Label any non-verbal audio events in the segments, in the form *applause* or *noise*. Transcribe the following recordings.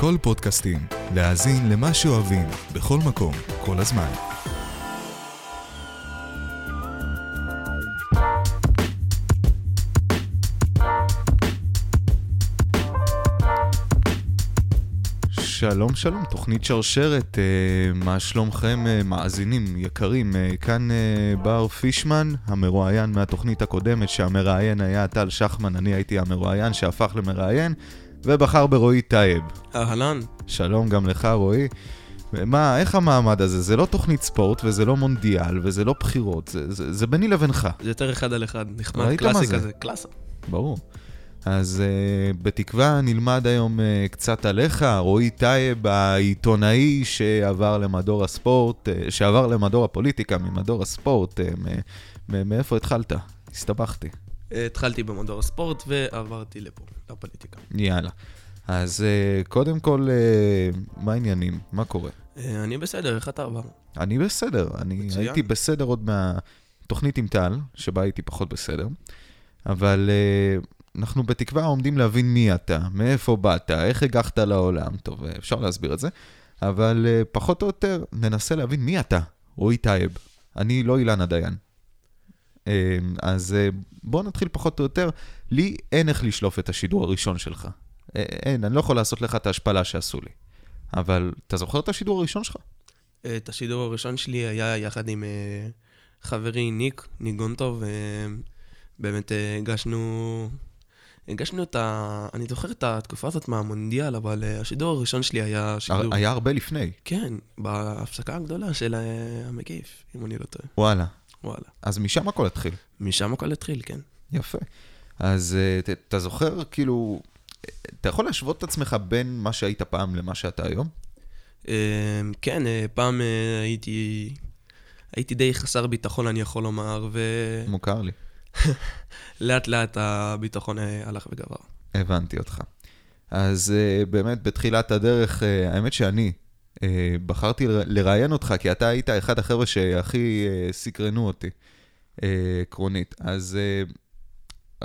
כל פודקאסטים, להאזין למה שאוהבים, בכל מקום, כל הזמן. שלום שלום, תוכנית שרשרת, אה, מה שלומכם אה, מאזינים יקרים? אה, כאן אה, בר פישמן, המרואיין מהתוכנית הקודמת, שהמראיין היה טל שחמן, אני הייתי המרואיין שהפך למראיין, ובחר ברועי טייב. אהלן. שלום גם לך, רועי. מה, איך המעמד הזה? זה לא תוכנית ספורט, וזה לא מונדיאל, וזה לא בחירות, זה, זה, זה ביני לבינך. זה יותר אחד על אחד, נחמד, ראית מה קלאסי זה? כזה, קלאסה. ברור. אז uh, בתקווה נלמד היום uh, קצת עליך, רועי טייב, העיתונאי שעבר למדור הספורט, uh, שעבר למדור הפוליטיקה ממדור הספורט, uh, מ- מ- מאיפה התחלת? הסתבכתי. אה, התחלתי במדור הספורט ועברתי לפה, לפוליטיקה. יאללה. אז uh, קודם כל, uh, מה העניינים? מה קורה? אה, אני בסדר, איך אתה עבר? אני בסדר, אני מצוין. הייתי בסדר עוד מהתוכנית עם טל, שבה הייתי פחות בסדר, אבל אה, אנחנו בתקווה עומדים להבין מי אתה, מאיפה באת, איך הגחת לעולם, טוב, אה, אפשר להסביר את זה, אבל אה, פחות או יותר ננסה להבין מי אתה, רועי טייב. אני לא אילנה דיין. אה, אז אה, בוא נתחיל פחות או יותר, לי אין איך לשלוף את השידור הראשון שלך. אה, אין, אני לא יכול לעשות לך את ההשפלה שעשו לי. אבל אתה זוכר את השידור הראשון שלך? אה, את השידור הראשון שלי היה יחד עם אה, חברי ניק, ניק גונטוב, אה, באמת אה, הגשנו... הגשנו את ה... אני זוכר את התקופה הזאת מהמונדיאל, אבל אה, השידור הראשון שלי היה שידור... היה הרבה לפני. כן, בהפסקה הגדולה של אה, המקיף, אם אני לא טועה. וואלה. וואלה. אז משם הכל התחיל. משם הכל התחיל, כן. יפה. אז אה, ת- אתה זוכר, כאילו, אה, אתה יכול להשוות את עצמך בין מה שהיית פעם למה שאתה היום? אה, כן, אה, פעם אה, הייתי... הייתי די חסר ביטחון, אני יכול לומר, כן. מוכר לי. ולאט לאט הביטחון אה, הלך וגבר. הבנתי אותך. אז אה, באמת, בתחילת הדרך, אה, האמת שאני אה, בחרתי ל- לראיין אותך, כי אתה היית אחד החבר'ה שהכי אה, סקרנו אותי, אה, עקרונית. אז, אה,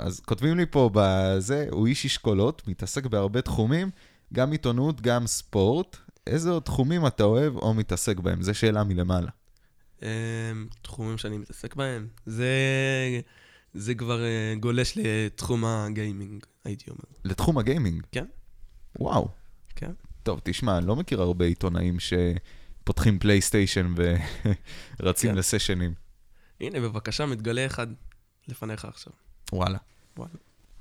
אז כותבים לי פה בזה, הוא איש אשכולות, מתעסק בהרבה תחומים, גם עיתונות, גם ספורט. איזה עוד תחומים אתה אוהב או מתעסק בהם? זו שאלה מלמעלה. אה, תחומים שאני מתעסק בהם, זה, זה כבר אה, גולש לתחום הגיימינג, הייתי אומר. לתחום הגיימינג. כן. וואו. כן. טוב, תשמע, אני לא מכיר הרבה עיתונאים שפותחים פלייסטיישן ורצים כן. לסשנים. הנה, בבקשה, מתגלה אחד לפניך עכשיו. וואלה. וואלה.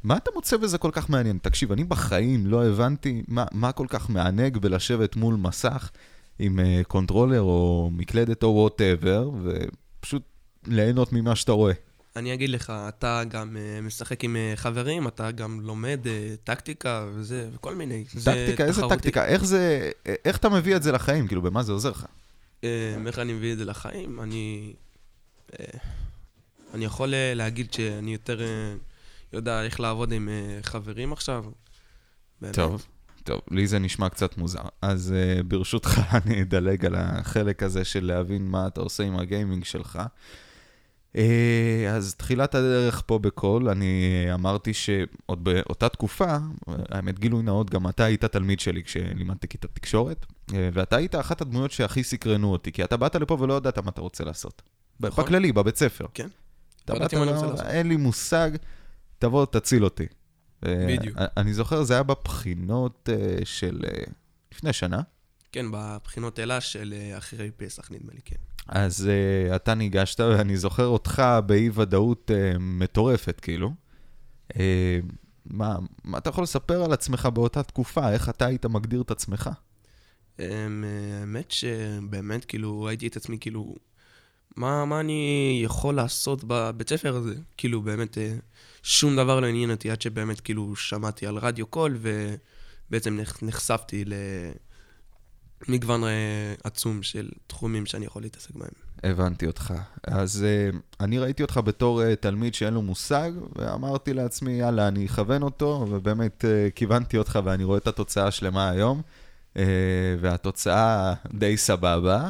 מה אתה מוצא בזה כל כך מעניין? תקשיב, אני בחיים לא הבנתי מה, מה כל כך מענג בלשבת מול מסך עם אה, קונטרולר או מקלדת או וואטאבר, ופשוט ליהנות ממה שאתה רואה. אני אגיד לך, אתה גם אה, משחק עם אה, חברים, אתה גם לומד אה, טקטיקה וזה, וכל מיני. זה טקטיקה, איזה תחרותי. טקטיקה? איך זה... איך אתה מביא את זה לחיים? כאילו, במה זה עוזר לך? אמ, איך אני מביא את זה לחיים? אני... אה, אני יכול אה, להגיד שאני יותר אה, יודע איך לעבוד עם אה, חברים עכשיו. באמת. טוב, טוב, לי זה נשמע קצת מוזר. אז uh, ברשותך, *laughs* אני אדלג על החלק הזה של להבין מה אתה עושה עם הגיימינג שלך. Uh, אז תחילת הדרך פה בקול, אני אה, אמרתי שעוד באותה תקופה, אה, האמת גילוי נאות, גם אתה היית תלמיד שלי כשלימדתי כיתת תקשורת, אה, ואתה היית אחת הדמויות שהכי סקרנו אותי, כי אתה באת לפה ולא ידעת מה אתה רוצה לעשות. נכון. בכללי, בבית ספר. כן. אתה לא באת ידעתי מה אני רוצה ואמרת, לעשות. אין לי מושג, תבוא, תציל אותי. אה, בדיוק. אני זוכר, זה היה בבחינות אה, של אה, לפני שנה. כן, בבחינות אלה של אה, אחרי פסח, נדמה לי, כן. אז אה, אתה ניגשת, ואני זוכר אותך באי-ודאות אה, מטורפת, כאילו. אה, מה, מה אתה יכול לספר על עצמך באותה תקופה? איך אתה היית מגדיר את עצמך? אמ, אה, האמת שבאמת, כאילו, ראיתי את עצמי, כאילו, מה, מה אני יכול לעשות בבית ספר הזה? כאילו, באמת, אה, שום דבר לא עניין אותי עד שבאמת, כאילו, שמעתי על רדיו קול, ובעצם נח- נחשפתי למגוון אה, עצום של תחומים שאני יכול להתעסק בהם. הבנתי אותך. אז uh, אני ראיתי אותך בתור uh, תלמיד שאין לו מושג, ואמרתי לעצמי, יאללה, אני אכוון אותו, ובאמת uh, כיוונתי אותך, ואני רואה את התוצאה השלמה היום, uh, והתוצאה די סבבה,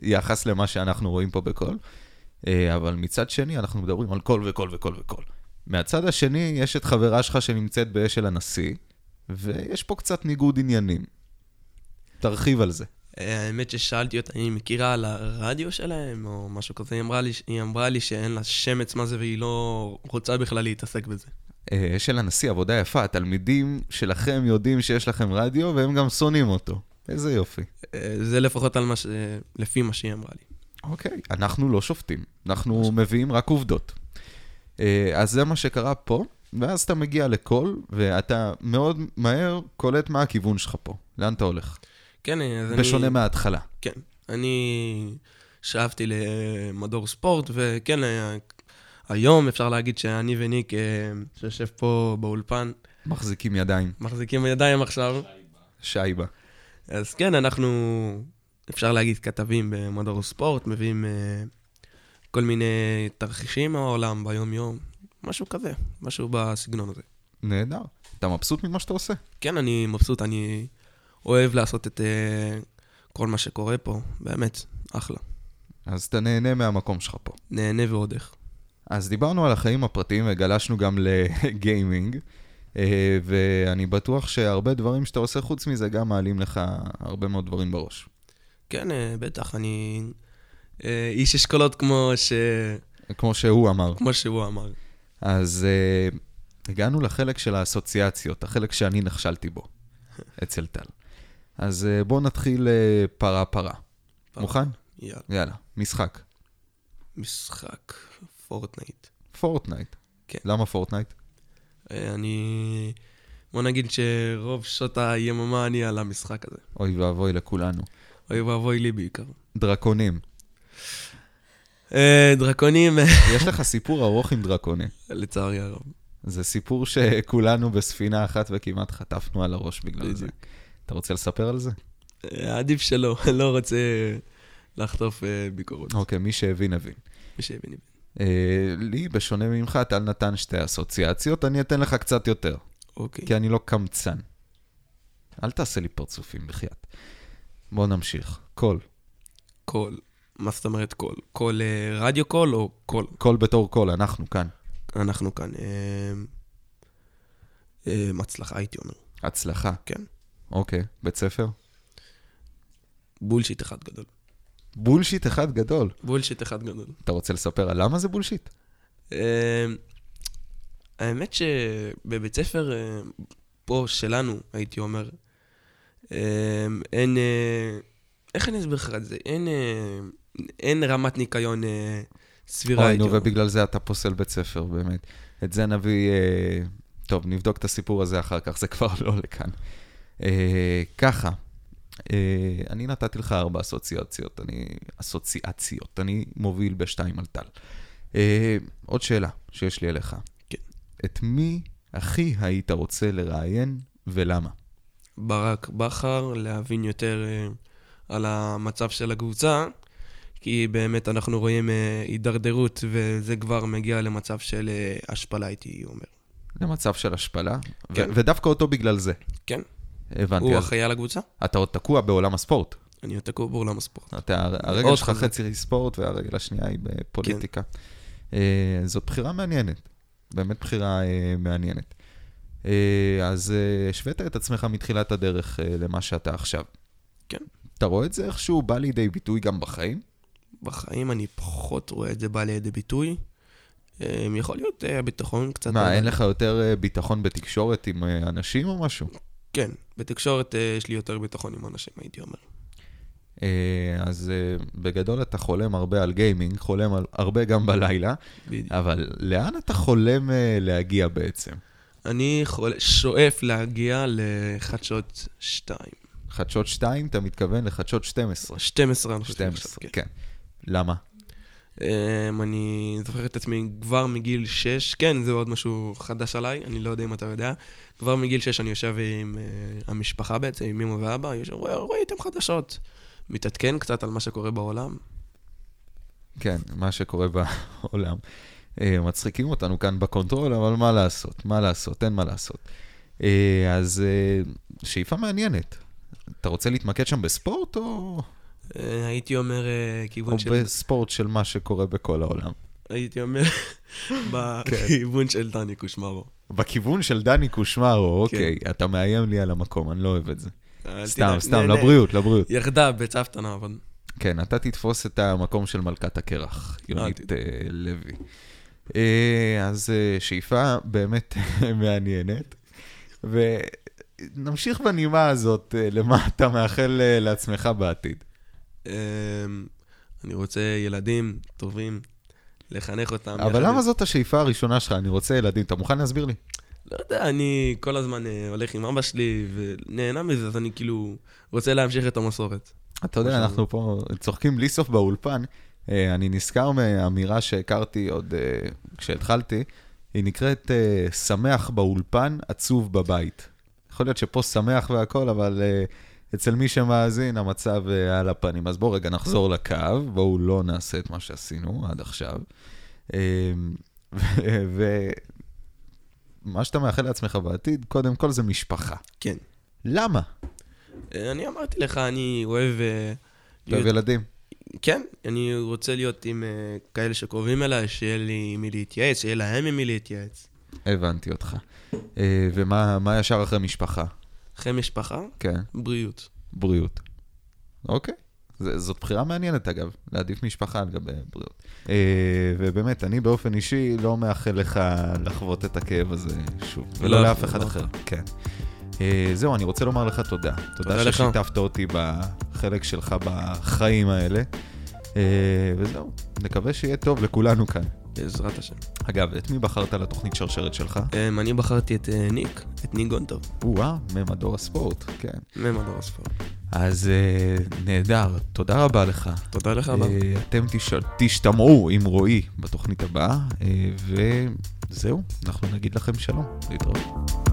ביחס למה שאנחנו רואים פה בקול. Uh, אבל מצד שני, אנחנו מדברים על קול וקול וקול וקול. מהצד השני, יש את חברה שלך שנמצאת באשל הנשיא, ויש פה קצת ניגוד עניינים. תרחיב על זה. אה, האמת ששאלתי אותה אם היא מכירה על הרדיו שלהם או משהו כזה, היא אמרה לי, היא אמרה לי שאין לה שמץ מה זה והיא לא רוצה בכלל להתעסק בזה. אה, של הנשיא, עבודה יפה, התלמידים שלכם יודעים שיש לכם רדיו והם גם שונאים אותו. איזה יופי. אה, זה לפחות על מה ש... לפי מה שהיא אמרה לי. אוקיי, אנחנו לא שופטים, אנחנו מביאים רק עובדות. אה, אז זה מה שקרה פה, ואז אתה מגיע לקול, ואתה מאוד מהר קולט מה הכיוון שלך פה, לאן אתה הולך. כן, אה, אז אני... בשונה מההתחלה. כן. אני שאפתי למדור ספורט, וכן, אה, היום אפשר להגיד שאני וניק, אה, שיושב פה באולפן, מחזיקים ידיים, מחזיקים ידיים עכשיו. שייבה. אז כן, אנחנו, אפשר להגיד, כתבים במדור ספורט, מביאים אה, כל מיני תרחישים מהעולם ביום-יום, משהו כזה, משהו בסגנון הזה. נהדר. אתה מבסוט ממה שאתה עושה? כן, אני מבסוט, אני אוהב לעשות את אה, כל מה שקורה פה, באמת, אחלה. אז אתה נהנה מהמקום שלך פה. נהנה ועוד איך. אז דיברנו על החיים הפרטיים וגלשנו גם לגיימינג, אה, ואני בטוח שהרבה דברים שאתה עושה חוץ מזה גם מעלים לך הרבה מאוד דברים בראש. כן, אה, בטח, אני אה, איש אשכולות כמו, ש... כמו שהוא אמר. כמו שהוא אמר. אז uh, הגענו לחלק של האסוציאציות, החלק שאני נכשלתי בו, אצל טל. אז uh, בואו נתחיל uh, פרה-פרה. מוכן? יאללה. יאללה, משחק. משחק, פורטנייט. פורטנייט. כן. למה פורטנייט? אה, אני... בוא נגיד שרוב שעות היממה אני על המשחק הזה. אוי ואבוי לכולנו. אוי ואבוי לי בעיקר. דרקונים. אה, דרקונים, יש לך סיפור ארוך עם דרקונים. לצערי הרב. זה סיפור שכולנו בספינה אחת וכמעט חטפנו על הראש בגלל זה. אתה רוצה לספר על זה? אה, עדיף שלא, לא רוצה לחטוף אה, ביקורות. אוקיי, מי שהבין, הבין. מי שהבין, הבין. אה, לי, בשונה ממך, טל נתן שתי אסוציאציות, אני אתן לך קצת יותר. אוקיי. כי אני לא קמצן. אל תעשה לי פרצופים, בחייאת. בוא נמשיך. קול. קול. מה זאת אומרת קול? קול אה, רדיו קול או קול? קול בתור קול, אנחנו כאן. אנחנו כאן. אה, אה, הצלחה, הייתי אומר. הצלחה. כן. אוקיי, בית ספר. בולשיט אחד גדול. בולשיט אחד גדול. בולשיט אחד גדול. אתה רוצה לספר על למה זה בולשיט? אה, האמת שבבית ספר אה, פה שלנו, הייתי אומר, אה, אין... אה, איך אני אסביר לך את זה? אין, אה, אין רמת ניקיון אה, סבירה, אוי, הייתי נו, אומר. ובגלל זה אתה פוסל בית ספר, באמת. את זה נביא... אה, טוב, נבדוק את הסיפור הזה אחר כך, זה כבר לא לכאן. אה, ככה, אה, אני נתתי לך ארבע אסוציאציות, אני... אסוציאציות, אני מוביל בשתיים על טל. אה, עוד שאלה שיש לי אליך. כן. את מי הכי היית רוצה לראיין ולמה? ברק בכר, להבין יותר אה, על המצב של הקבוצה, כי באמת אנחנו רואים אה, הידרדרות, וזה כבר מגיע למצב של אה, השפלה, הייתי אומר. למצב של השפלה, כן. ו- ודווקא אותו בגלל זה. כן. הבנתי, הוא אז אחראי על הקבוצה? אתה עוד תקוע בעולם הספורט. אני עוד תקוע בעולם הספורט. אתה, הרגל מאוד שלך חזק. חצי ספורט והרגל השנייה היא בפוליטיקה. כן. אה, זאת בחירה מעניינת, באמת בחירה אה, מעניינת. אה, אז אה, השווית את עצמך מתחילת הדרך אה, למה שאתה עכשיו. כן. אתה רואה את זה איכשהו בא לידי ביטוי גם בחיים? בחיים אני פחות רואה את זה בא לידי ביטוי. אה, יכול להיות אה, ביטחון קצת. אבל- מה, אין לך יותר אה, ביטחון בתקשורת עם אה, אנשים או משהו? כן, בתקשורת אה, יש לי יותר ביטחון עם אנשים, הייתי אומר. אה, אז אה, בגדול אתה חולם הרבה על גיימינג, חולם על- הרבה גם בלילה, בדיוק. אבל לאן אתה חולם אה, להגיע בעצם? אני חול- שואף להגיע לחדשות 2. חדשות 2, אתה מתכוון לחדשות 12. 12 אנחנו עושים 12, עכשיו, כן. כן. למה? אמ, אני זוכר את עצמי כבר מגיל 6, כן, זה עוד משהו חדש עליי, אני לא יודע אם אתה יודע. כבר מגיל 6 אני יושב עם אה, המשפחה בעצם, עם אמא ואבא, יושב, רואה רואה איתם חדשות. מתעדכן קצת על מה שקורה בעולם. כן, מה שקורה בעולם. אה, מצחיקים אותנו כאן בקונטרול, אבל מה לעשות? מה לעשות? אין מה לעשות. אה, אז אה, שאיפה מעניינת. אתה רוצה להתמקד שם בספורט או, אה, הייתי אומר אה, או כיוון של... בספורט של מה שקורה בכל העולם? הייתי *laughs* אומר, כן. בכיוון של דני קושמרו. בכיוון של דני קושמרו, אוקיי, אתה מאיים לי על המקום, אני לא אוהב את זה. כן. אל סתם, תדאג, סתם, לא נהנה. לבריאות, לבריאות. ירדה בצוותא נעבוד. כן, אתה תתפוס את המקום של מלכת הקרח, יונית תדאג. אה, לוי. אה, אז אה, שאיפה באמת *laughs* מעניינת. ונמשיך בנימה הזאת, אה, למה אתה מאחל אה, לעצמך בעתיד. אמ, אני רוצה ילדים טובים, לחנך אותם. יחד אבל עם- למה זאת השאיפה הראשונה שלך? אני רוצה ילדים. אתה מוכן להסביר לי? לא יודע, אני כל הזמן אה, הולך עם אבא שלי ונהנה מזה, אז אני כאילו רוצה להמשיך את המסורת. אתה יודע, משהו. אנחנו פה צוחקים בלי סוף באולפן. אה, אני נזכר מאמירה שהכרתי עוד אה, כשהתחלתי, היא נקראת אה, שמח באולפן, עצוב בבית. יכול להיות שפה שמח והכל, אבל אה, אצל מי שמאזין המצב אה, על הפנים. אז בואו רגע נחזור לקו, בואו לא נעשה את מה שעשינו עד עכשיו. אה, ומה שאתה מאחל לעצמך בעתיד, קודם כל זה משפחה. כן. למה? אה, אני אמרתי לך, אני אוהב... אה, אתה אוהב להיות- ילדים. כן, אני רוצה להיות עם אה, כאלה שקרובים אליי, שיהיה לי עם מי להתייעץ, שיהיה להם עם מי להתייעץ. הבנתי אותך. אה, ומה מה ישר אחרי משפחה? אחרי משפחה, כן, בריאות. בריאות. אוקיי. ז- זאת בחירה מעניינת, אגב, להעדיף משפחה על גבי בריאות. אה, ובאמת, אני באופן אישי לא מאחל לך לחוות את הכאב הזה שוב, ולא לא, לאף אחד לא. אחר. כן. אה, זהו, אני רוצה לומר לך תודה. תודה תודה לך. ששיתפת אותי בחלק שלך בחיים האלה. אה, וזהו, נקווה שיהיה טוב לכולנו כאן. בעזרת השם. אגב, את מי בחרת לתוכנית שרשרת שלך? אמ, אני בחרתי את אה, ניק, את ניק גונטוב, או-אה, ממדור הספורט, כן. ממדור הספורט. אז אה, נהדר, תודה רבה לך. תודה לך, אבא. אה, אתם תש... תשתמעו עם רועי בתוכנית הבאה, אה, וזהו, אנחנו נגיד לכם שלום, להתראות.